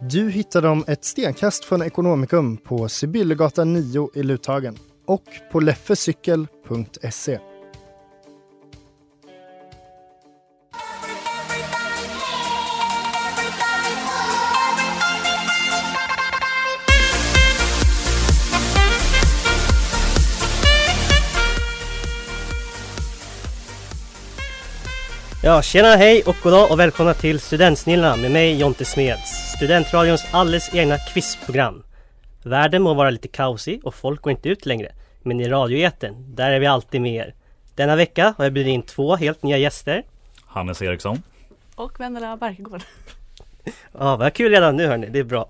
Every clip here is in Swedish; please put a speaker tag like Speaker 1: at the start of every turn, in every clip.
Speaker 1: Du hittar dem ett stenkast från Ekonomikum på Sibyllegatan 9 i Luthagen och på leffecykel.se.
Speaker 2: Ja, tjena, hej och goddag och välkomna till Studentsnillena med mig Jonte Smeds. Studentradions alldeles egna quizprogram. Världen må vara lite kaosig och folk går inte ut längre. Men i radioeten, där är vi alltid med er. Denna vecka har jag bjudit in två helt nya gäster.
Speaker 3: Hannes Eriksson.
Speaker 4: Och Vendela Barkegård.
Speaker 2: Ja, vad kul redan nu hörni, det är bra.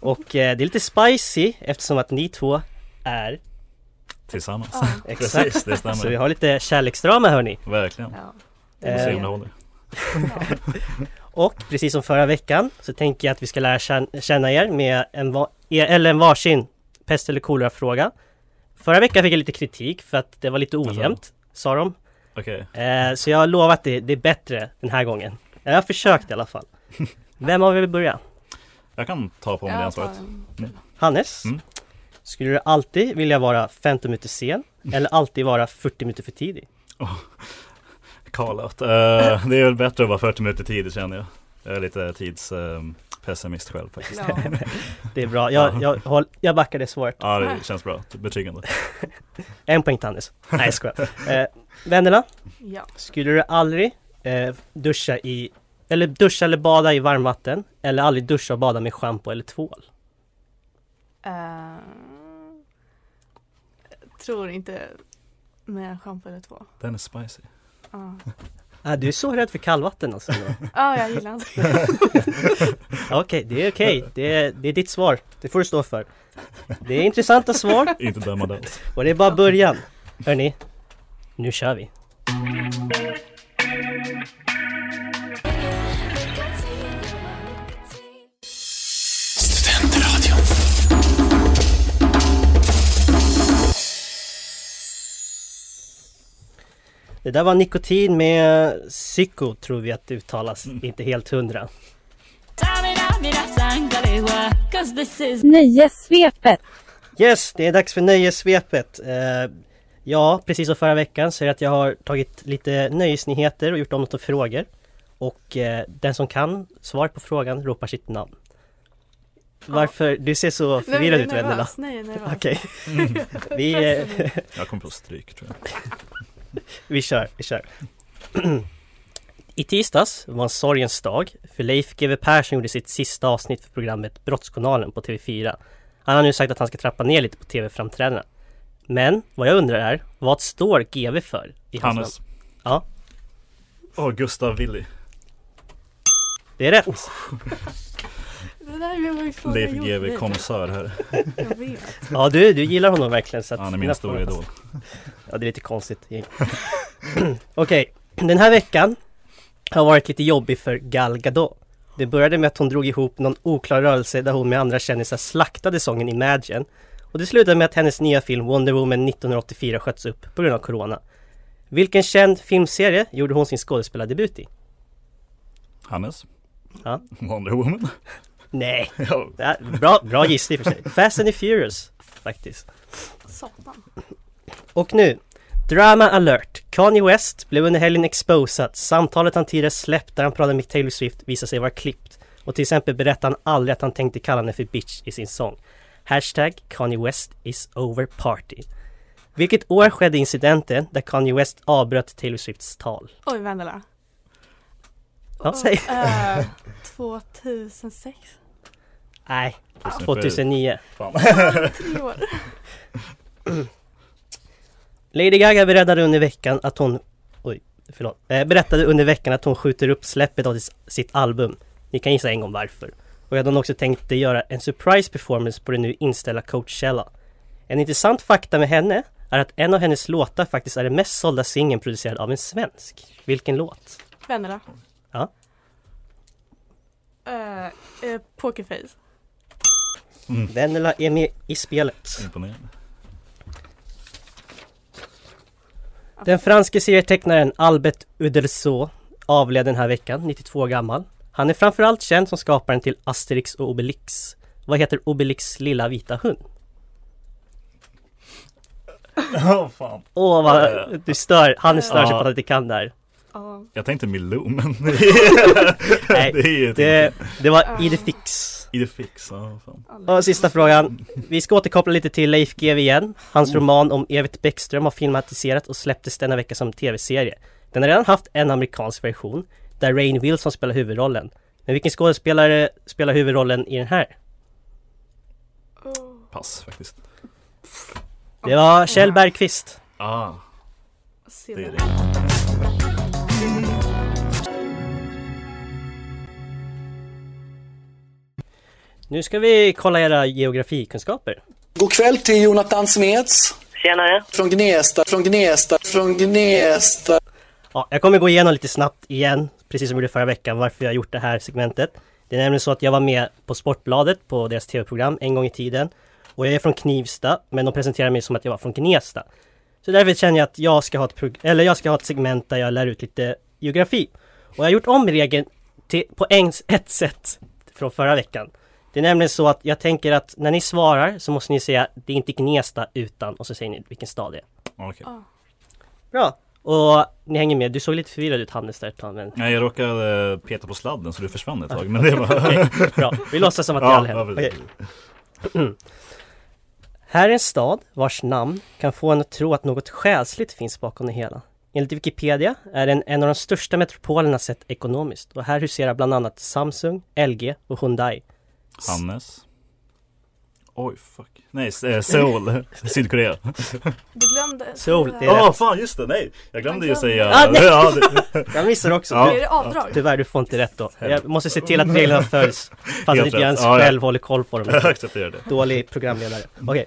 Speaker 2: Och eh, det är lite spicy eftersom att ni två är
Speaker 3: Tillsammans.
Speaker 2: exakt.
Speaker 3: Precis, det
Speaker 2: Så vi
Speaker 3: stämmer.
Speaker 2: har lite kärleksdrama hörni.
Speaker 3: Verkligen.
Speaker 4: Ja.
Speaker 3: Vi får se
Speaker 2: Eh,
Speaker 3: om det håller.
Speaker 2: Och precis som förra veckan så tänker jag att vi ska lära kän- känna er med en, va- er, eller en varsin pest eller kolera-fråga. Förra veckan fick jag lite kritik för att det var lite ojämnt, sa de.
Speaker 3: Okej,
Speaker 2: Eh, så jag har lovat att det, det är bättre den här gången. Jag har försökt i alla fall. Vem av er vill börja?
Speaker 3: jag kan ta på mig det ansvaret.
Speaker 2: Hannes?
Speaker 3: Mm.
Speaker 2: Skulle du alltid vilja vara 15 minuter sen eller alltid vara 40 minuter för tidig?
Speaker 3: Call out. Eh, det är väl bättre att vara 40 minuter tidigt känner jag. Jag är lite tidspessimist själv faktiskt.
Speaker 4: Ja.
Speaker 2: Det är bra, jag, jag, håll, jag backar det svaret.
Speaker 3: Ja, det känns bra. Betryggande.
Speaker 2: En poäng till Hannes. Nej, jag skojar. Eh, Vendela?
Speaker 4: ja.
Speaker 2: Skulle du aldrig eh, duscha i eller duscha eller bada i varmvatten eller aldrig duscha och bada med schampo eller tvål?
Speaker 4: Eh, tror inte med en schampo eller två.
Speaker 3: Den är spicy.
Speaker 4: Ja,
Speaker 2: Ah, du är så rädd för kallvatten alltså. Okej,
Speaker 4: Ja, jag gillar inte det.
Speaker 2: det är okej. Det, är- det är ditt svar. Det får du stå för. Det är intressanta svar
Speaker 3: Inte dömande alls.
Speaker 2: och det är bara början. Hörni, nu kör vi. Det där var nikotin med psyko tror vi att det uttalas. Inte helt hundra.
Speaker 5: Nöjessvepet.
Speaker 2: Yes, det är dags för nöjessvepet. Eh, ja, precis som förra veckan så är det att jag har tagit lite nöjesnyheter och gjort om dem till frågor. Och eh, den som kan svaret på frågan ropar sitt namn. Varför? Du ser så
Speaker 4: Nej, jag
Speaker 2: förvirrad
Speaker 4: är
Speaker 2: ut Vendela.
Speaker 4: nervös. Nej, jag är nervös.
Speaker 2: Okej. vi, eh,
Speaker 3: Jag kommer få stryk tror jag.
Speaker 2: vi kör, vi kör. I tisdags var en sorgens dag för Leif GW Persson gjorde sitt sista avsnitt för programmet Brottsjournalen på TV4. Han har nu sagt att han ska trappa ner lite på TV-framträdandena. Men vad jag undrar är, vad står GW för? i hans namn?
Speaker 3: Hannes.
Speaker 2: Ja.
Speaker 3: Åh, Gustav Willy.
Speaker 2: Det är rätt!
Speaker 4: Det där var ju frågan
Speaker 3: Leif
Speaker 4: jag
Speaker 3: GW
Speaker 4: gjorde.
Speaker 3: konsör här.
Speaker 4: Jag vet.
Speaker 2: Ja du, du gillar honom verkligen så att
Speaker 3: Han är min stora idol.
Speaker 2: Ja det är lite konstigt egentligen. Okej, den här veckan har varit lite jobbig för Gal Gadot. Det började med att hon drog ihop någon oklar rörelse där hon med andra kändisar slaktade sången Imagine. Och det slutade med att hennes nya film Wonder Woman 1984 sköts upp på grund av Corona. Vilken känd filmserie gjorde hon sin skådespelardebut i?
Speaker 3: Hannes.
Speaker 2: Ja.
Speaker 3: Wonder Woman.
Speaker 2: Nej,
Speaker 3: Ja,
Speaker 2: det här, bra, bra gissning i och för sig. Fast and the Furious, faktiskt.
Speaker 4: Satan.
Speaker 2: Och nu, Drama alert! Kanye West blev under helgen exposad. Samtalet han tidigare släppt där han pratade med Taylor Swift visade sig vara klippt. Och till exempel berättade han aldrig att han tänkte kalla henne för bitch i sin sång. Hashtag Kanye West is over party. Vilket år skedde incidenten där Kanye West avbröt Taylor Swifts tal?
Speaker 4: Oj, Vendela.
Speaker 2: Ja, säg.
Speaker 4: Eh, 2006.
Speaker 2: Nej,
Speaker 3: Tusen
Speaker 2: 2009.
Speaker 3: Fan.
Speaker 4: Tre år.
Speaker 2: Lady Gaga berättade under veckan att hon... Oj, förlåt. Eh, berättade under veckan att hon skjuter upp släppet av dis- sitt album. Ni kan gissa en gång varför. Och hade hon också tänkt göra en surprise performance på den nu inställda Coachella. En intressant fakta med henne är att en av hennes låtar faktiskt är den mest sålda singeln producerad av en svensk. Vilken låt?
Speaker 4: Vendela.
Speaker 2: Ja.
Speaker 4: Eh, eh, pokerface.
Speaker 3: Mm.
Speaker 2: Venela är med i spelet.
Speaker 3: Imponerande.
Speaker 2: Den franske serietecknaren Albert Uderzo avled den här veckan, 92 år gammal. Han är framförallt känd som skaparen till Asterix och Obelix. Vad heter Obelix lilla vita hund?
Speaker 3: Åh fan.
Speaker 2: Åh vad du stör, han stör sig
Speaker 3: Ja.
Speaker 2: på att han inte kan där.
Speaker 4: Ja.
Speaker 3: Jag tänkte Milou men
Speaker 2: Nej,
Speaker 3: det är ju
Speaker 2: Det,
Speaker 3: det...
Speaker 2: det var Idefix.
Speaker 3: i det fix. Ja, fan.
Speaker 2: Och sista frågan. Vi ska återkoppla lite till Leif GW igen. Hans roman om Evert Bäckström har filmatiserats och släpptes denna vecka som tv-serie. Den har redan haft en amerikansk version, där Rainn Wilson spelar huvudrollen. Men vilken skådespelare spelar huvudrollen i den här?
Speaker 4: Oh.
Speaker 3: Pass faktiskt.
Speaker 2: Det var Kjell Bergqvist.
Speaker 3: Ah,
Speaker 4: Se
Speaker 3: det är
Speaker 4: där.
Speaker 3: det.
Speaker 2: Nu ska vi kolla era geografikunskaper.
Speaker 5: God kväll till Jonathan Smeds. Tjenare. Från Gnesta, från Gnesta, från Gnesta.
Speaker 2: Ja, jag kommer gå igenom lite snabbt igen, precis som jag gjorde förra veckan, varför jag har gjort det här segmentet. Det är nämligen så att jag var med på Sportbladet på deras tv-program en gång i tiden. Och jag är från Knivsta, men de presenterar mig som att jag var från Gnesta. Så därför känner jag att jag ska ha ett, prog- eller jag ska ha ett segment där jag lär ut lite geografi. Och jag har gjort om regeln till, på en, ett sätt från förra veckan. Det är nämligen så att jag tänker att när ni svarar så måste ni säga det är inte Gnesta utan och så säger ni vilken stad det är.
Speaker 3: Ah, okej.
Speaker 2: Bra! Och ni hänger med, du såg lite förvirrad ut Hannes där ett tag men
Speaker 3: Nej, jag råkade eh, peta på sladden så du försvann ett tag. Men det var...
Speaker 2: Okej, bra. Vi låtsas som att det
Speaker 3: Ja,
Speaker 2: aldrig
Speaker 3: ja,
Speaker 2: hände.
Speaker 3: precis.
Speaker 2: Okej. Här är en stad vars namn kan få en att tro att något själsligt finns bakom det hela. Enligt Wikipedia är den en av de största metropolerna sett ekonomiskt och här huserar bland annat Samsung, LG och Hyundai.
Speaker 3: Hannes. Oj, fuck. Nej, S- eh, Seoul. Sydkorea.
Speaker 4: Du glömde.
Speaker 2: Seoul, det är
Speaker 3: Ja,
Speaker 2: rätt.
Speaker 3: fan just det. Nej, jag glömde ju säga...
Speaker 2: Ah, nej.
Speaker 3: Ja, det...
Speaker 2: Jag missar också.
Speaker 3: Ja. typ.
Speaker 4: Är det avdrag?
Speaker 2: Tyvärr, du får inte rätt då. Jag måste se till att reglerna följs. Fast att
Speaker 3: Helt
Speaker 2: inte
Speaker 3: rätt.
Speaker 2: jag ens
Speaker 3: Ja, ja.
Speaker 2: själv håller koll på dem.
Speaker 3: Jag accepterar det.
Speaker 2: Dålig programledare. Okej.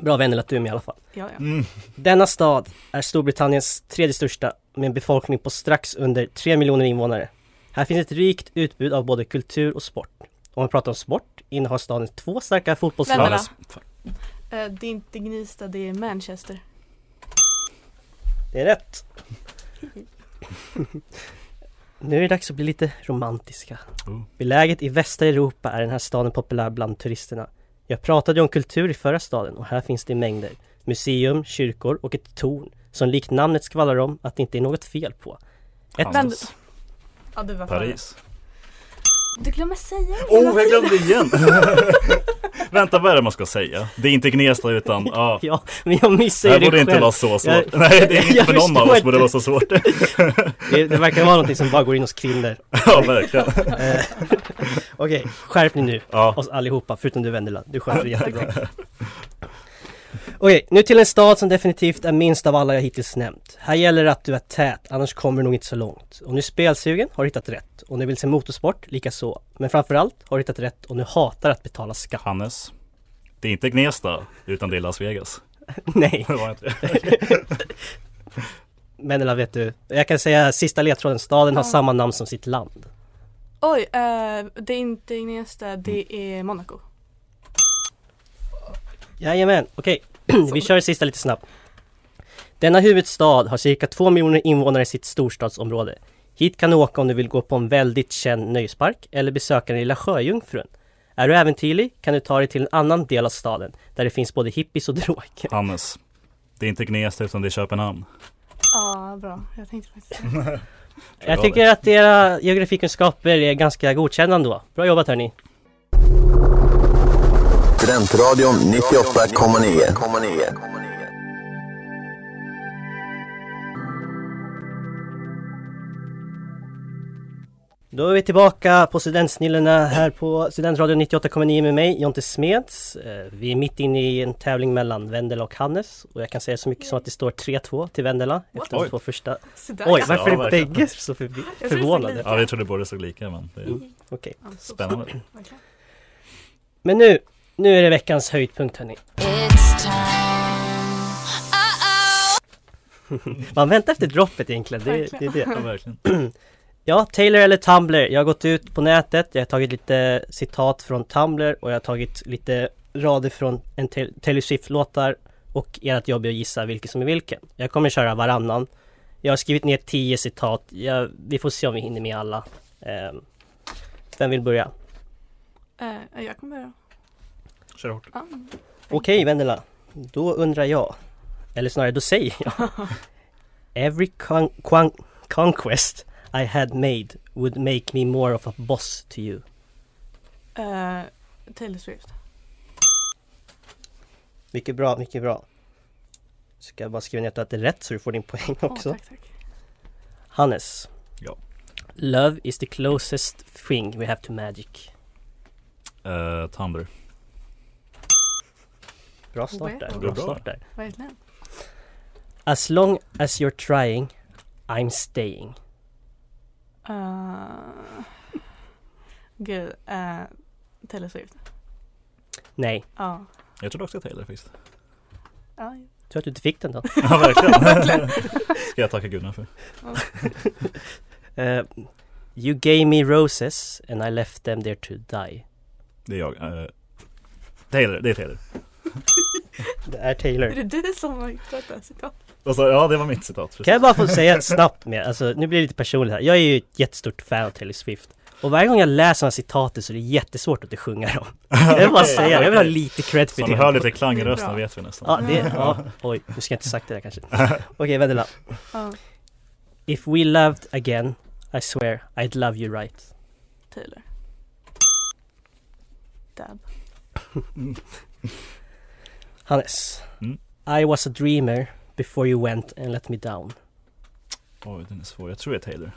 Speaker 2: Bra vänner att du är med i alla fall.
Speaker 4: Ja, ja.
Speaker 3: Mm.
Speaker 2: Denna stad är Storbritanniens tredje största med en befolkning på strax under 3 miljoner invånare. Här finns ett rikt utbud av både kultur och sport. Om man pratar om sport innehar staden två starka fotbollslag.
Speaker 4: Vännerna.
Speaker 3: Hannes. Fuck.
Speaker 4: Eh, det är inte Gnista, det är Manchester.
Speaker 2: Det är rätt. nu är det dags att bli lite romantiska.
Speaker 3: Oh.
Speaker 2: Beläget i västra Europa är den här staden populär bland turisterna. Jag pratade ju om kultur i förra staden och här finns det mängder. Museum, kyrkor och ett torn som likt namnet skvallrar om att det inte är något fel på. Ett
Speaker 3: Hannes.
Speaker 4: Ja, du var före.
Speaker 3: Paris.
Speaker 4: Du glömmer säga det hela
Speaker 3: Oh, jag glömde
Speaker 4: tiden.
Speaker 3: igen! Vänta, vad är det man ska säga? Det är inte Gnesta utan... Ja.
Speaker 2: Ja, men jag
Speaker 3: Det
Speaker 2: missar ju
Speaker 3: här
Speaker 2: det
Speaker 3: borde
Speaker 2: själv.
Speaker 3: inte vara så svårt.
Speaker 2: Jag-
Speaker 3: Nej, det är inte
Speaker 2: jag
Speaker 3: för någon av
Speaker 2: förstår
Speaker 3: oss borde
Speaker 2: inte.
Speaker 3: vara så svårt.
Speaker 2: Det, det verkar vara någonting som bara går in hos kvinnor.
Speaker 3: ja, verkligen.
Speaker 2: Eh, Okej, skärp dig nu.
Speaker 3: Ja.
Speaker 2: oss allihopa, förutom du Vendela. Du sköter det jättebra. Okej, nu till en stad som definitivt är minst av alla jag hittills nämnt. Här gäller det att du är tät, annars kommer du nog inte så långt. Om du är spelsugen har du hittat rätt. Om du vill se motorsport, lika så. Men framförallt har du hittat rätt om du hatar att betala skatt.
Speaker 3: Hannes. Det är inte Gnesta, utan det är Las Vegas.
Speaker 2: Nej,
Speaker 3: Det var inte det.
Speaker 2: Vendela vet du. Jag kan säga sista ledtråden, staden har
Speaker 4: Ja.
Speaker 2: samma namn som sitt land.
Speaker 4: Oj, eh, det är inte Gnesta, det
Speaker 3: Mm.
Speaker 4: är Monaco.
Speaker 2: Jajamän, okej. Vi kör det sista lite snabbt. Denna huvudstad har cirka 2 miljoner invånare i sitt storstadsområde. Hit kan du åka om du vill gå på en väldigt känd nöjespark eller besöka den lilla sjöjungfrun. Är du äventyrlig kan du ta dig till en annan del av staden där det finns både hippies och droger.
Speaker 3: Hannes. Det är inte Gnesta, utan det är Köpenhamn.
Speaker 4: Ja, bra. Jag tänkte faktiskt
Speaker 2: Jag tycker att era geografikunskaper är ganska godkända ändå. Bra jobbat hörni!
Speaker 6: Studentradion 98,9.
Speaker 2: Då är vi tillbaka på Studentsnillena här på Studentradion 98,9 med mig, Jonte Smeds. Eh, Vi är mitt inne i en tävling mellan Vendela och Hannes och jag kan säga så mycket som att det står 3-2 till Vendela efter de
Speaker 3: Oj.
Speaker 2: två första.
Speaker 4: Sådär.
Speaker 2: Oj, varför
Speaker 3: Ja,
Speaker 2: är
Speaker 3: verkligen.
Speaker 2: bägge så förbi-
Speaker 4: det
Speaker 2: förvånade?
Speaker 4: lite.
Speaker 3: Ja, vi trodde båda såg lika men det är
Speaker 2: Mm, Okej,
Speaker 4: Ja, så-
Speaker 3: spännande.
Speaker 4: verkligen.
Speaker 2: men nu, nu är det veckans höjdpunkt hörni. Man väntar efter droppet egentligen, det, är- det är det.
Speaker 3: Ja, verkligen.
Speaker 2: Ja, Taylor eller Tumblr. Jag har gått ut på nätet, jag har tagit lite citat från Tumblr och jag har tagit lite rader från en Tay- Taylor Swift-låtar och ert jobb är att gissa vilken som är vilken. Jag kommer köra varannan. Jag har skrivit ner tio citat. Jag, vi får se om vi hinner med alla. Ehm, vem vill börja?
Speaker 4: Eh, jag kommer börja.
Speaker 3: Kör hårt.
Speaker 4: Ja.
Speaker 2: Okej Vendela, då undrar jag, eller snarare då säger jag Every con- con- conquest I had made would make me more of a boss to you
Speaker 4: Eh, Taylor Swift.
Speaker 2: Mycket bra, mycket bra Ska jag bara skriva ner att det är rätt så du får din poäng
Speaker 4: Åh,
Speaker 2: också
Speaker 4: tack, tack.
Speaker 2: Hannes
Speaker 3: Ja.
Speaker 2: Love is the closest thing we have to magic
Speaker 3: Eh, Tumblr.
Speaker 2: Bra start där,
Speaker 3: Bra.
Speaker 2: bra start där
Speaker 4: Verkligen.
Speaker 2: As long as you're trying I'm staying
Speaker 4: Eh, gud, eh, Taylor Swift.
Speaker 2: Nej,
Speaker 4: Ja.
Speaker 3: Jag trodde också Taylor faktiskt.
Speaker 4: Ja,
Speaker 2: tror att du inte fick den då
Speaker 3: Ja, verkligen. Ska jag tacka gudarna för.
Speaker 2: Eh, you gave me roses and I left them there to die.
Speaker 3: Det är jag. Eh, Taylor, det är Taylor.
Speaker 2: Det är
Speaker 4: Är
Speaker 2: Taylor.
Speaker 4: det du som har hittat det här citatet?
Speaker 3: Och så, ja, det var mitt citat. precis.
Speaker 2: Kan jag bara få säga snabbt med, alltså nu blir det lite personligt här. Jag är ju ett jättestort fan av Taylor Swift. Och varje gång jag läser sådana citat så är det jättesvårt att inte sjunga dem. Jag vill bara säga det, jag vill ha lite cred
Speaker 3: Så
Speaker 2: för
Speaker 3: om ni hör
Speaker 2: det.
Speaker 3: lite klang i
Speaker 4: Det är
Speaker 3: rösten
Speaker 4: bra.
Speaker 3: vet vi
Speaker 2: Ja,
Speaker 3: nästan.
Speaker 2: det, ja, oj, nu ska jag inte sagt det där kanske. Okej, Vendela.
Speaker 4: Ja,
Speaker 2: If we loved again, I swear I'd love you right.
Speaker 4: Taylor. Dab.
Speaker 2: Hannes.
Speaker 3: Mm.
Speaker 2: I was a dreamer before you went and let me down.
Speaker 3: Oj, den är svår. Jag tror det är Taylor.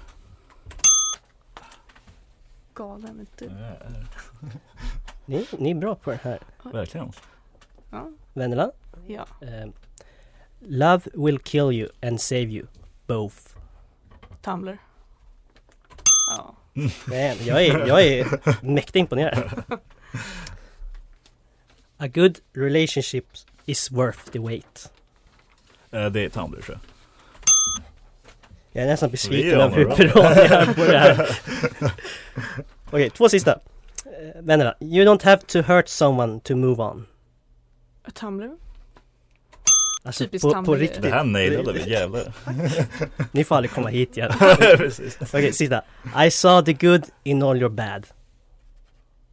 Speaker 4: Galen typ. är du.
Speaker 3: Eh,
Speaker 2: Ni, ni är bra på det här.
Speaker 3: verkligen.
Speaker 4: Ja.
Speaker 2: Vendela.
Speaker 4: ja.
Speaker 2: Ehm, Love will kill you and save you, both.
Speaker 4: Tumblr. Ja.
Speaker 2: Man, jag är, jag är mäkta imponerad. A good relationship is worth the wait.
Speaker 3: Eh, det är Tumblr tror jag.
Speaker 2: Jag är nästan besviken
Speaker 3: Vi
Speaker 2: över hur
Speaker 3: anar
Speaker 2: bra jag är på det här. Okej, två sista. Eh, Vendela, you don't have to hurt someone to move on.
Speaker 4: Tumblr.
Speaker 2: Alltså
Speaker 4: Typiskt
Speaker 2: på, på
Speaker 4: Tumblr.
Speaker 2: riktigt.
Speaker 3: Det här nailade vi, jävlar.
Speaker 2: Ni får aldrig komma hit igen.
Speaker 3: Precis.
Speaker 2: Okej, sista. I saw the good in all your bad.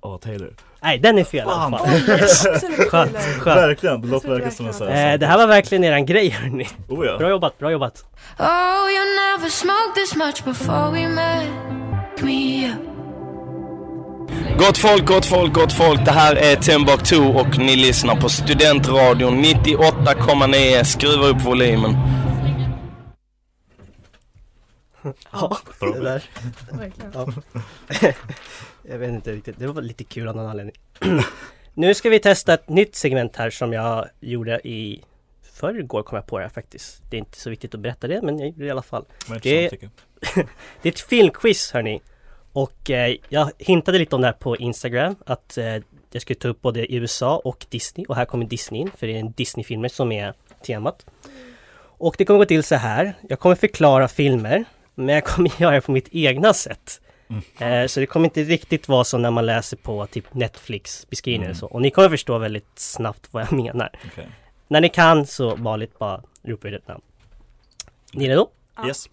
Speaker 3: Åh, Taylor.
Speaker 2: Nej, den är fel i alla
Speaker 3: Fan. Alltså.
Speaker 2: fall.
Speaker 4: Oj, absolut
Speaker 2: Skönt,
Speaker 4: Taylor.
Speaker 2: skönt.
Speaker 3: Verkligen, det låter
Speaker 4: Jag tror
Speaker 3: verkligen som en sån
Speaker 2: Eh, det här var verkligen eran grej hörni.
Speaker 3: Oh ja.
Speaker 2: Bra jobbat, bra jobbat.
Speaker 7: Oh, you never smoked this much before we met me up.
Speaker 5: Gott folk, gott folk, gott folk. Det här är Timbuktu och ni lyssnar på Studentradion 98,9. Skruva upp volymen.
Speaker 2: Ja, det där.
Speaker 4: Verkligen.
Speaker 2: Ja. jag vet inte riktigt, det var lite kul av någon anledning. nu ska vi testa ett nytt segment här som jag gjorde i förrgår kom jag på det här faktiskt. Det är inte så viktigt att berätta det men jag gjorde det i alla fall.
Speaker 3: Men
Speaker 2: det-
Speaker 3: intressant, tycker jag.
Speaker 2: Det är ett filmquiz hörni. Och eh, jag hintade lite om det här på Instagram att eh, jag skulle ta upp både USA och Disney och här kommer Disney in för det är en Disney-filmer som är temat. Och det kommer gå till så här. Jag kommer förklara filmer men jag kommer göra det på mitt egna sätt. Eh, så det kommer inte riktigt vara som när man läser på typ Netflix beskrivningar och
Speaker 3: Mm.
Speaker 2: så. Och ni kommer förstå väldigt snabbt vad jag menar.
Speaker 3: Okej.
Speaker 2: När ni kan så vanligt bara ropa ut ett namn. Ni är redo?
Speaker 4: Ja.
Speaker 3: Yes.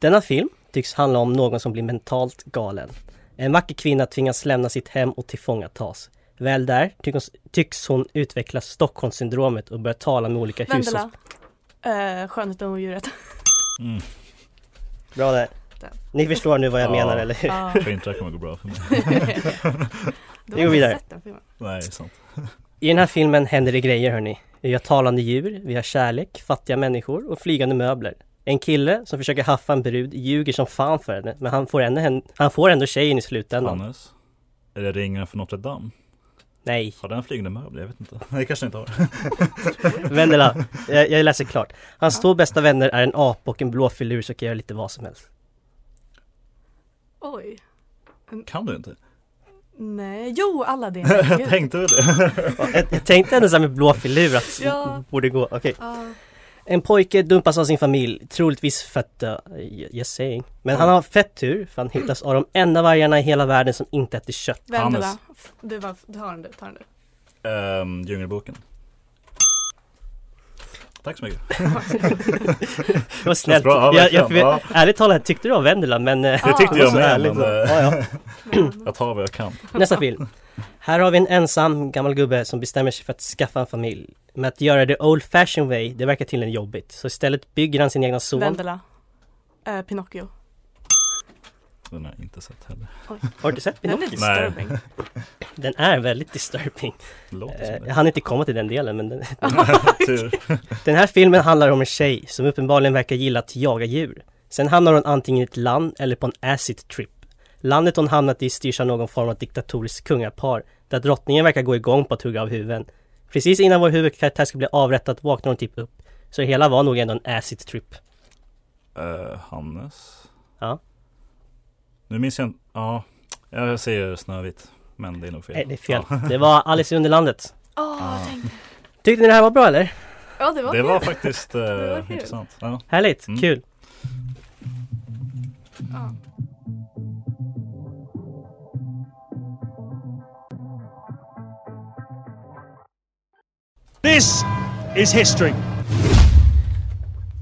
Speaker 2: Denna film tycks handla om någon som blir mentalt galen. En vacker kvinna tvingas lämna sitt hem och tillfångatas. Väl där tycks, tycks hon utveckla Stockholmssyndromet och börja tala med olika hushåll.
Speaker 4: Vendela. Eh, skönheten och odjuret.
Speaker 3: Mm.
Speaker 2: Bra där. Ni förstår nu vad jag
Speaker 3: Ja.
Speaker 2: menar eller hur?
Speaker 3: Jag tror inte det här kommer gå bra för mig.
Speaker 2: Vi går vidare.
Speaker 3: Nej, det är sant.
Speaker 2: I den här filmen händer det grejer hörni. Vi har talande djur, vi har kärlek, fattiga människor och flygande möbler. En kille som försöker haffa en brud ljuger som fan för henne, men han får ändå, han får ändå tjejen i slutändan.
Speaker 3: Anders? Är det ringen från Notre Dame?
Speaker 2: Nej.
Speaker 3: Har den flygande möbler? Jag vet inte. Nej, kanske den inte har.
Speaker 2: Vendela, jag, jag läser klart. Hans två bästa vänner är en apa och en blå filur som kan göra lite vad som helst.
Speaker 4: Oj.
Speaker 3: Kan du inte?
Speaker 4: Nej, jo Aladdin.
Speaker 3: jag tänkte väl det.
Speaker 2: Jag, jag tänkte ändå såhär med blå filur att
Speaker 4: Ja.
Speaker 2: borde gå, okej.
Speaker 4: Ja.
Speaker 2: En pojke dumpas av sin familj, troligtvis för att dö. Yes saying. Men han har fett tur, för han hittas av de enda vargarna i hela världen som inte äter kött.
Speaker 4: Vendela. Du, var, du har den du, ta den du.
Speaker 3: Ehm, Djungelboken. Tack så mycket.
Speaker 2: Det var snällt.
Speaker 3: Bra, ja,
Speaker 2: jag, jag,
Speaker 3: verkligen. Ja.
Speaker 2: Ärligt talat tyckte du om Vendela men... eh,
Speaker 3: Det tyckte
Speaker 2: var
Speaker 3: jag
Speaker 2: så
Speaker 3: med,
Speaker 2: ärligt.
Speaker 3: men, eh,
Speaker 2: ja, ja.
Speaker 3: Jag tar vad jag kan.
Speaker 2: Nästa film. Här har vi en ensam gammal gubbe som bestämmer sig för att skaffa en familj. Men att göra det old fashion way, det verkar tydligen jobbigt. Så istället bygger han sin egna son.
Speaker 4: Vendela. Eh, Pinocchio.
Speaker 3: Den har jag inte sett heller.
Speaker 2: Har du sett
Speaker 4: Den är
Speaker 2: Pinocchio?
Speaker 3: disturbing. Nej.
Speaker 2: Den är väldigt disturbing.
Speaker 3: Låter som
Speaker 2: Eh,
Speaker 3: det.
Speaker 2: Jag hann inte komma till den delen men den...
Speaker 3: Tur.
Speaker 2: den här filmen handlar om en tjej som uppenbarligen verkar gilla att jaga djur. Sen hamnar hon antingen i ett land eller på en acid trip. Landet hon hamnat i styrs av någon form av diktatoriskt kungapar där drottningen verkar gå igång på att hugga av huvuden. Precis innan vår huvudkaraktär ska bli avrättad vaknar hon typ upp. Så det hela var nog ändå en acid trip.
Speaker 3: Eh, Hannes?
Speaker 2: Ja.
Speaker 3: Nu minns jag inte. Ja, jag säger Snövit. Men det är nog fel.
Speaker 2: Nej, det är fel.
Speaker 3: Ja.
Speaker 2: Det var Alice i Underlandet.
Speaker 4: Åh,
Speaker 3: Ja.
Speaker 2: Tyckte ni det här var bra eller?
Speaker 4: Ja, det var
Speaker 3: Det
Speaker 4: kul.
Speaker 3: var faktiskt eh,
Speaker 4: Det var kul.
Speaker 3: intressant. Ja.
Speaker 2: Härligt,
Speaker 3: Mm.
Speaker 2: kul.
Speaker 4: Ja.
Speaker 8: This is history.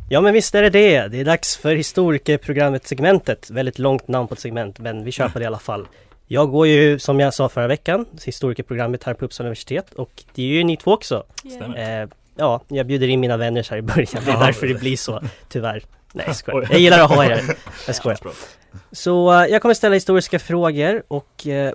Speaker 2: Ja men visst är det det. Det är dags för historikerprogrammet-segmentet. Väldigt långt namn på ett segment men vi kör på det i alla fall. Jag går ju som jag sa förra veckan, historikerprogrammet här på Uppsala universitet och det är ju ni två också.
Speaker 3: Stämmer.
Speaker 2: Eh, ja, jag bjuder in mina vänner så här i början. Det är
Speaker 3: Ja.
Speaker 2: därför det blir så, tyvärr. Nej jag skojar.
Speaker 3: Oj.
Speaker 2: Jag gillar att ha er. Jag skojar.
Speaker 3: Bra.
Speaker 2: Så eh, jag kommer ställa historiska frågor och eh,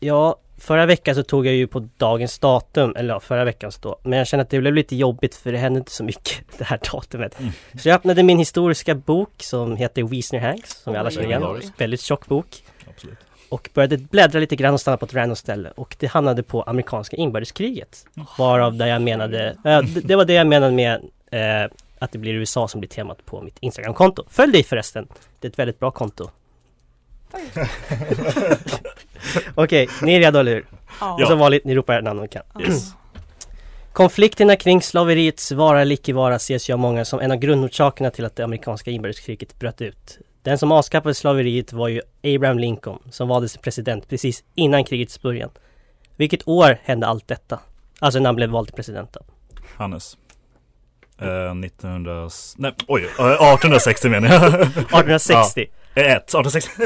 Speaker 2: ja, förra veckan så tog jag ju på dagens datum, eller ja, förra veckans då. Men jag kände att det blev lite jobbigt för det hände inte så mycket det här datumet.
Speaker 3: Mm.
Speaker 2: Så jag öppnade min historiska bok som heter Wiesner Hanks, som vi alla
Speaker 3: Oj,
Speaker 2: känner igen.
Speaker 3: legendarisk.
Speaker 2: Väldigt tjock bok.
Speaker 3: Absolut.
Speaker 2: Och började bläddra lite grann och stanna på ett random ställe och det hamnade på amerikanska inbördeskriget. Varav där jag menade, eh, d- det var det jag menade med eh, att det blir USA som blir temat på mitt Instagram-konto. Följ dig förresten! Det är ett väldigt bra konto. Okej, ni är redo eller hur?
Speaker 4: Ja. alltså.
Speaker 2: Och som vanligt, ni ropar namn om ni kan.
Speaker 4: Yes.
Speaker 2: Konflikterna kring slaveriets vara eller icke vara ses ju av många som en av grundorsakerna till att det amerikanska inbördeskriget bröt ut. Den som avskaffade slaveriet var ju Abraham Lincoln som valdes till president precis innan krigets början. Vilket år hände allt detta? Alltså när han blev vald till president då.
Speaker 3: Hannes. Eh, 1900... s- Nej, oj! eh, 1860 menar jag.
Speaker 2: 1860.
Speaker 3: Ja. Eh, Ett, 1860.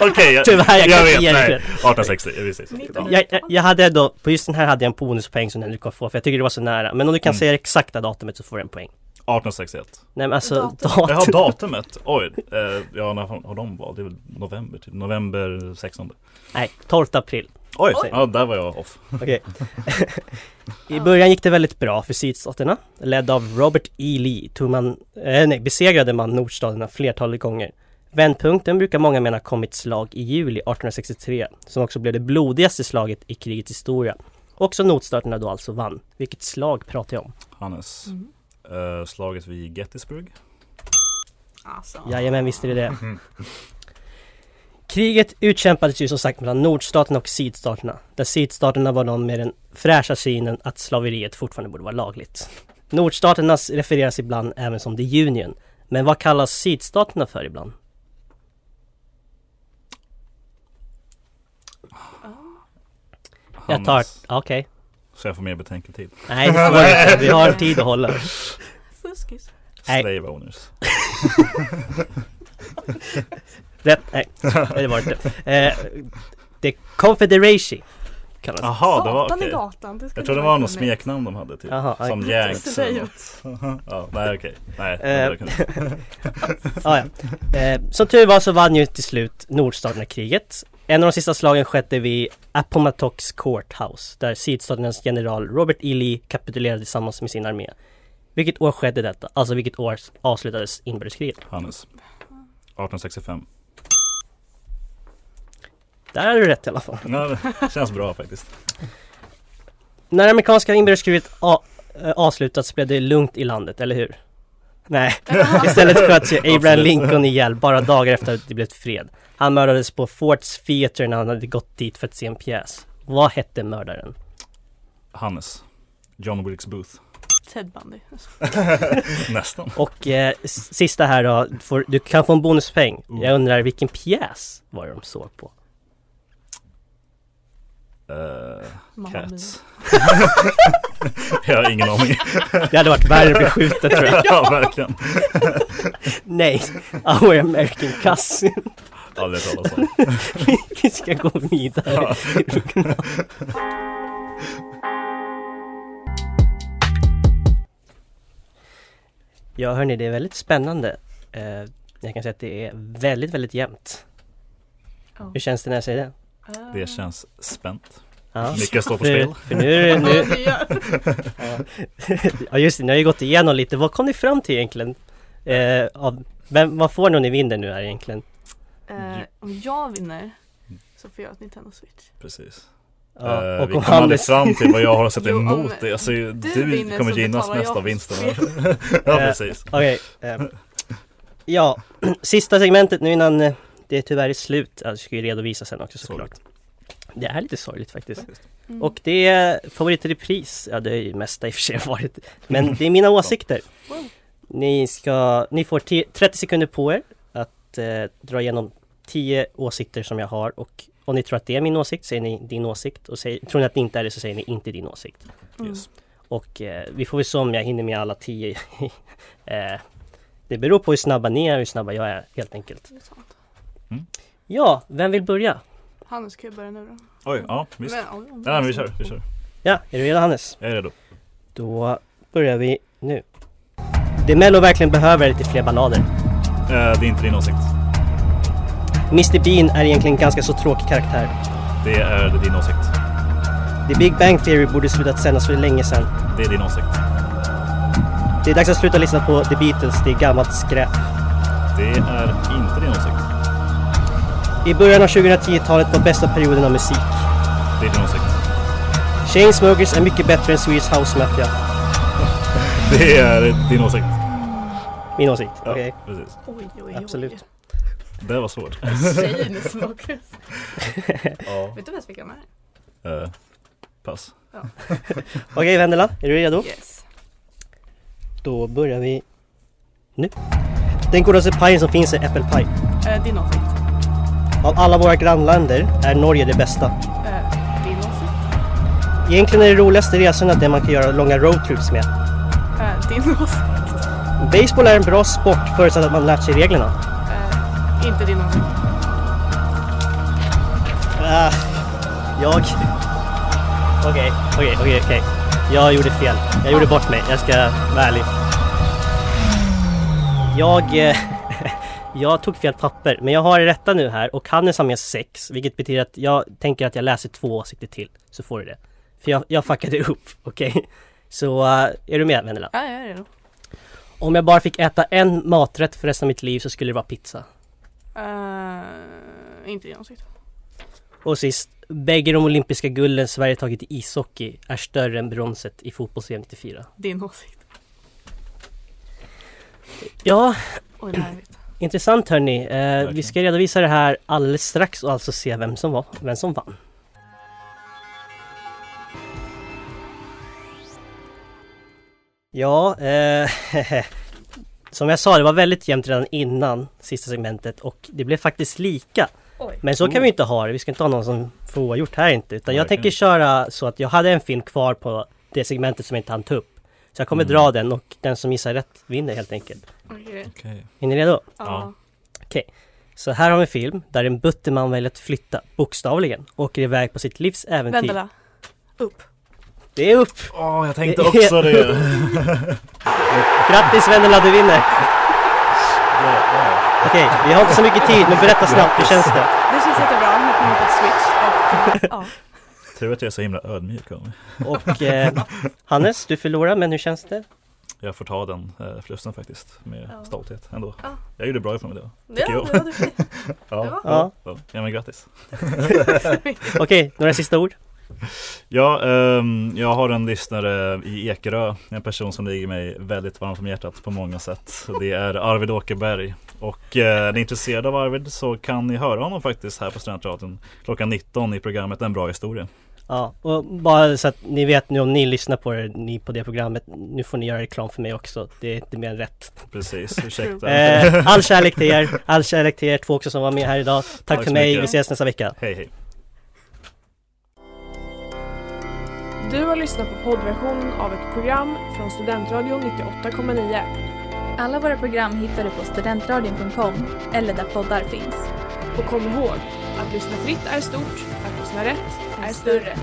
Speaker 3: Okej, jag,
Speaker 2: Tyvärr, jag kan
Speaker 3: vet.
Speaker 2: inte ge dig
Speaker 3: nej.
Speaker 2: rätt.
Speaker 3: 1860, ja, precis. Ja.
Speaker 2: Jag, jag, jag hade ändå, på just den här hade jag en bonuspoäng som den du kommer få för jag tycker det var så nära. Men om du kan
Speaker 3: Mm.
Speaker 2: säga det exakta datumet så får du en poäng.
Speaker 3: 1861.
Speaker 2: Nej men alltså
Speaker 3: Jag har
Speaker 2: datum.
Speaker 3: datumet. Oj, eh, ja, när har de valt? Det är väl november, typ. November 16.
Speaker 2: Nej, 12 april.
Speaker 3: Oj,
Speaker 2: Oj.
Speaker 3: Ja, där var jag off.
Speaker 2: Okej. I början gick det väldigt bra för sydstaterna. Ledd av Robert E. Lee tog man, eh, nej, besegrade man nordstaterna flertalet gånger. Vändpunkten brukar många mena kom i ett slag i juli 1863 som också blev det blodigaste slaget i krigets historia. Och som nordstaterna då alltså vann. Vilket slag pratar jag om?
Speaker 3: Hannes.
Speaker 4: Mm.
Speaker 3: Eh, slaget vid Gettysburg.
Speaker 4: Alltså.
Speaker 2: Jajamän, visst är det det. Kriget utkämpades ju som sagt mellan nordstaterna och sydstaterna. Där sydstaterna var de med den fräscha synen att slaveriet fortfarande borde vara lagligt. Nordstaterna refereras ibland även som the Union. Men vad kallas sydstaterna för ibland? Jag tar...
Speaker 3: Hannes.
Speaker 2: Ah, Okej.
Speaker 3: Så jag får mer betänketid.
Speaker 2: Nej, det får du inte. Vi har tid att hålla.
Speaker 4: Fuskis.
Speaker 2: Nej.
Speaker 3: Slave owners.
Speaker 2: Rätt, nej, det var det inte. Eh, the Confederacy kallas
Speaker 3: Jaha, det var
Speaker 4: Satan i
Speaker 3: okej.
Speaker 4: gatan, det ska
Speaker 3: Jag
Speaker 4: ni
Speaker 3: trodde det
Speaker 4: vara
Speaker 3: var något
Speaker 4: med mig.
Speaker 3: smeknamn de hade typ.
Speaker 2: Jaha,
Speaker 3: som
Speaker 2: aj.
Speaker 3: Jags
Speaker 4: Det är
Speaker 3: eller
Speaker 4: ju-
Speaker 3: något. ja, Nej okej. Nej, det
Speaker 2: Eh,
Speaker 3: hade jag kunnat.
Speaker 2: ja, ja. Eh, som tur var så vann ju till slut nordstaterna-kriget. En av de sista slagen skedde vid Appomattox Courthouse där sydstaternas general Robert E. Lee kapitulerade tillsammans med sin armé. Vilket år skedde detta? Alltså vilket år avslutades inbördeskriget?
Speaker 3: Hannes. 1865.
Speaker 2: Där har du rätt i alla fall.
Speaker 3: Ja, det känns bra faktiskt.
Speaker 2: När det amerikanska inbördeskriget a- eh, avslutats blev det lugnt i landet, eller hur? Nej, istället sköts ju Abraham
Speaker 3: Absolut.
Speaker 2: Lincoln ihjäl bara dagar efter att det blev fred. Han mördades på Forts Theater när han hade gått dit för att se en pjäs. Vad hette mördaren?
Speaker 3: Hannes. John Wilkes Booth.
Speaker 4: Ted Bundy.
Speaker 3: Nästan.
Speaker 2: Och eh, s- sista här då, får, du kan få en bonuspeng. Jag undrar vilken pjäs var det de såg på?
Speaker 3: Uh,
Speaker 4: Mamma
Speaker 3: cats. Eh, jag har ingen aning.
Speaker 2: Det hade varit värre att bli skjuten tror jag.
Speaker 3: ja, verkligen.
Speaker 2: Nej, Our American Cousin.
Speaker 3: Aldrig hört talas om.
Speaker 2: Vi- Vi ska gå vidare. Ja, hörni, det är väldigt spännande. Eh, jag kan säga att det är väldigt, väldigt jämnt.
Speaker 4: Ja.
Speaker 2: Hur känns det när jag säger det?
Speaker 3: Det känns spänt.
Speaker 2: Ja.
Speaker 3: Mycket står på
Speaker 2: För-
Speaker 3: spel.
Speaker 2: För nu är det,
Speaker 4: Ja,
Speaker 2: nu,
Speaker 4: det gör.
Speaker 2: ja just det, ni har ju gått igenom lite. Vad kom ni fram till egentligen? Eh, av, vem, vad får ni om ni vinner nu här egentligen?
Speaker 4: Eh, om jag vinner
Speaker 3: Mm.
Speaker 4: så får jag ett Nintendo Switch.
Speaker 3: Precis.
Speaker 2: Ja,
Speaker 3: Eh,
Speaker 2: och
Speaker 3: vi
Speaker 2: om
Speaker 3: kom aldrig
Speaker 2: Hannes-
Speaker 3: fram till vad jag har att sätta
Speaker 4: Jo, om
Speaker 3: emot det. Alltså, du,
Speaker 4: vinner
Speaker 3: kommer
Speaker 4: så
Speaker 3: gynnas
Speaker 4: betalar
Speaker 3: mest
Speaker 4: jag
Speaker 3: av vinsten.
Speaker 4: för
Speaker 3: här. ja,
Speaker 2: Eh,
Speaker 3: precis.
Speaker 2: Okej. eh, ja, sista segmentet nu innan eh, det tyvärr är slut. Alltså, jag ska ju redovisa sen också såklart. Det är lite sorgligt faktiskt.
Speaker 4: Mm.
Speaker 2: Och det är favoritrepris, ja det har ju mesta i och för sig varit. Men det är mina åsikter.
Speaker 4: Wow.
Speaker 2: Ni, ska, ni får ti- 30 sekunder på er att eh, dra igenom 10 åsikter som jag har och om ni tror att det är min åsikt säger ni din åsikt och säger, tror ni att det inte är det så säger ni inte din åsikt.
Speaker 4: Mm.
Speaker 3: Yes.
Speaker 2: Och eh, vi får väl se om jag hinner med alla 10. eh, det beror på hur snabba ni är och hur snabba jag är helt enkelt.
Speaker 4: Det är sant.
Speaker 2: Ja, vem vill börja?
Speaker 4: Hannes, kan jag börja nu då?
Speaker 3: Oj, ja visst.
Speaker 4: Men, ja, om-
Speaker 3: Nej, men vi kör, vi kör.
Speaker 2: Ja, är du redo Hannes?
Speaker 3: Jag är redo.
Speaker 2: Då börjar vi nu. Det Mello verkligen behöver är lite fler ballader.
Speaker 3: Eh, det är inte din åsikt.
Speaker 2: Mr Bean är egentligen en ganska så tråkig karaktär.
Speaker 3: Det är din åsikt.
Speaker 2: The Big Bang Theory borde slutat sändas för länge sedan.
Speaker 3: Det är din åsikt.
Speaker 2: Det är dags att sluta lyssna på The Beatles, det är gammalt skräp.
Speaker 3: Det är inte din åsikt.
Speaker 2: I början av 2010-talet var bästa perioden av musik.
Speaker 3: Det är din åsikt.
Speaker 2: Chainsmokers är mycket bättre än Swedish House Mafia.
Speaker 3: Det är din åsikt.
Speaker 2: Min åsikt.
Speaker 3: Ja,
Speaker 2: Okej,
Speaker 3: precis.
Speaker 4: Oj, oj, oj.
Speaker 2: absolut.
Speaker 3: Det var svårt.
Speaker 4: Chainsmokers.
Speaker 3: ja.
Speaker 4: Vet du ens vilka de är?
Speaker 3: Eh, pass.
Speaker 2: Okej Vendela, är du redo?
Speaker 4: Yes.
Speaker 2: Då börjar vi nu. Den godaste pajen som finns är äppelpaj.
Speaker 4: Eh, din åsikt.
Speaker 2: Av alla våra grannländer är Norge det bästa.
Speaker 4: Eh, din åsikt.
Speaker 2: Egentligen är det roligaste resorna det man kan göra långa roadtrips med.
Speaker 4: Eh, din åsikt.
Speaker 2: Baseball är en bra sport förutsatt att man lärt sig reglerna.
Speaker 4: Eh, inte din åsikt.
Speaker 2: Ah, jag... Okej, okej, okej, okej. Jag gjorde fel. Jag gjorde bort mig. Jag ska vara ärlig. Jag... eh, Jag tog fel papper, men jag har det rätta nu här och Hannes har med sex, vilket betyder att jag tänker att jag läser två åsikter till, så får du det. För jag, jag fuckade upp, okej? Så, eh, är du med Vendela?
Speaker 4: Ja, jag är redo.
Speaker 2: Om jag bara fick äta en maträtt för resten av mitt liv så skulle det vara pizza.
Speaker 4: Eh, inte din åsikt.
Speaker 2: Och sist, bägge de olympiska gulden Sverige tagit i ishockey är större än bronset i fotbolls 94.
Speaker 4: Din åsikt.
Speaker 2: Ja,
Speaker 4: Oj, larvigt.
Speaker 2: intressant hörni. Eh, vi ska redovisa det här alldeles strax och alltså se vem som, var, vem som vann. Ja, eh, som jag sa, det var väldigt jämnt redan innan sista segmentet och det blev faktiskt lika.
Speaker 4: Oj.
Speaker 2: Men så kan vi inte ha det. Vi ska inte ha någon som får oavgjort här inte. Utan jag
Speaker 3: Verkligen.
Speaker 2: tänker köra så att jag hade en film kvar på det segmentet som jag inte hann ta upp. Så jag kommer
Speaker 3: Mm.
Speaker 2: dra den och den som gissar rätt vinner helt enkelt.
Speaker 4: Okej.
Speaker 3: Okej.
Speaker 2: Är ni redo?
Speaker 4: Ja.
Speaker 2: Så här har vi en film där en butterman väljer att flytta, bokstavligen, och åker iväg på sitt livs äventyr.
Speaker 4: Vendela. Upp.
Speaker 2: Det är upp!
Speaker 3: Åh, jag tänkte också det.
Speaker 2: Grattis Vendela, du vinner! Okej, vi har inte så mycket tid, men berätta snabbt, hur känns det?
Speaker 4: Det känns jättebra. Nu kommer jag på ett switch. Och, ja.
Speaker 3: Tur att jag är så himla ödmjuk av mig.
Speaker 2: Och eh, Hannes, du förlorar, men hur känns det?
Speaker 3: Jag får ta den eh, förlusten faktiskt med stolthet ändå. Jag gjorde bra ifrån mig då.
Speaker 4: Ja,
Speaker 3: tycker jag.
Speaker 4: det var du.
Speaker 3: ja,
Speaker 2: Ja.
Speaker 3: ja. ja. ja, men grattis.
Speaker 2: Okej, några sista ord?
Speaker 3: Ja, ehm, jag har en lyssnare i Ekerö, en person som ligger mig väldigt varmt om hjärtat på många sätt. Det är Arvid Åkerberg. Och eh, är ni intresserade av Arvid så kan ni höra honom faktiskt här på Studentradion klockan 19 i programmet En bra historia.
Speaker 2: Ja, och bara så att ni vet nu om ni lyssnar på det, ni på det programmet, nu får ni göra reklam för mig också. Det är inte mer än rätt.
Speaker 3: Precis, ursäkta.
Speaker 2: Eh, all kärlek till er, all kärlek till er två också som var med här idag. Tack,
Speaker 3: Tack
Speaker 2: för
Speaker 3: så
Speaker 2: mig,
Speaker 3: mycket.
Speaker 2: vi ses nästa vecka.
Speaker 3: Hej hej.
Speaker 9: Du har lyssnat på poddversionen av ett program från Studentradion 98,9.
Speaker 10: Alla våra program hittar du på studentradion.com eller där poddar finns.
Speaker 9: Och kom ihåg, att lyssna fritt är stort, att lyssna rätt är större.